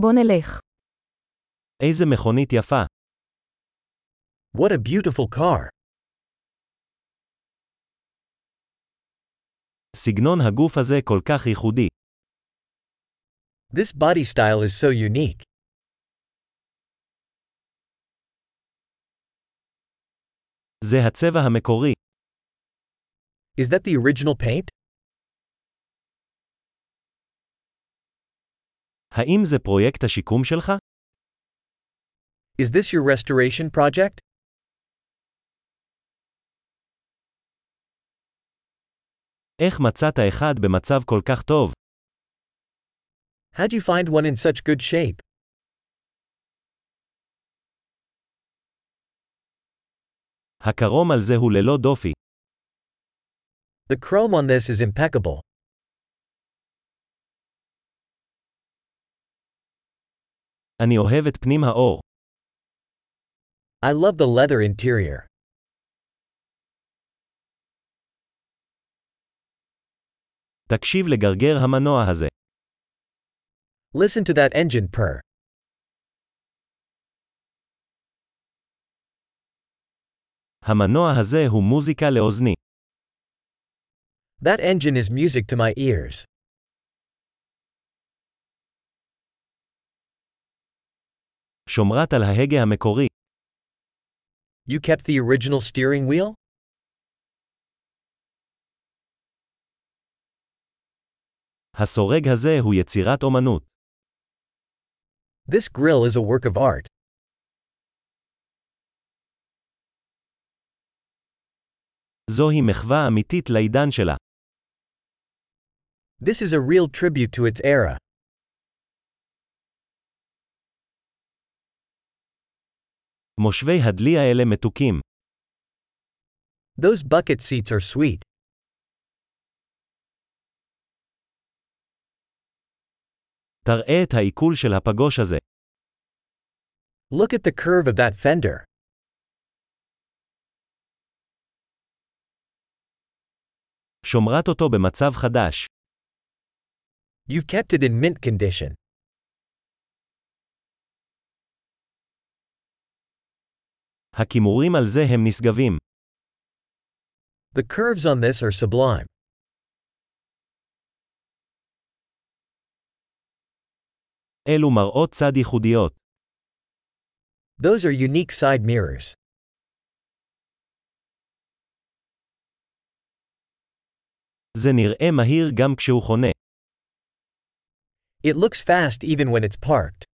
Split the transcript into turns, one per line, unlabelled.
בוא נלך.
איזה מכונית יפה.
What a beautiful car!
סגנון הגוף הזה כל כך ייחודי.
This body style is so unique.
זה הצבע המקורי.
Is that the original paint?
האם זה פרויקט השיקום שלך?
Is this your restoration project?
איך מצאת אחד במצב כל כך טוב?
How'd you find one in such good shape?
הקרום על זה הוא ללא דופי.
The chrome on this is impeccable.
אני אוהב את פנים האור.
I love the leather interior.
תקשיב לגרגר המנוע הזה.
Listen to that engine purr.
המנוע הזה הוא מוזיקה לאוזני.
That engine is music to my ears.
שומרת על ההגה המקורי.
You kept the original steering wheel?
הסורג הזה הוא יצירת אומנות.
This grill is a work of art.
זוהי מחווה אמיתית לעידן שלה.
This is a real tribute to its era.
מושבי הדלי האלה מתוקים.
Those bucket seats are sweet.
תראה את העיכול של הפגוש הזה.
Look at the curve of that fender.
שומרת אותו במצב חדש.
You've kept it in mint condition.
הכימורים על זה הם נשגבים.
The curves on this are sublime.
אלו מראות צד ייחודיות.
Those are unique side mirrors.
זה נראה מהיר גם כשהוא חונה.
It looks fast even when it's parked.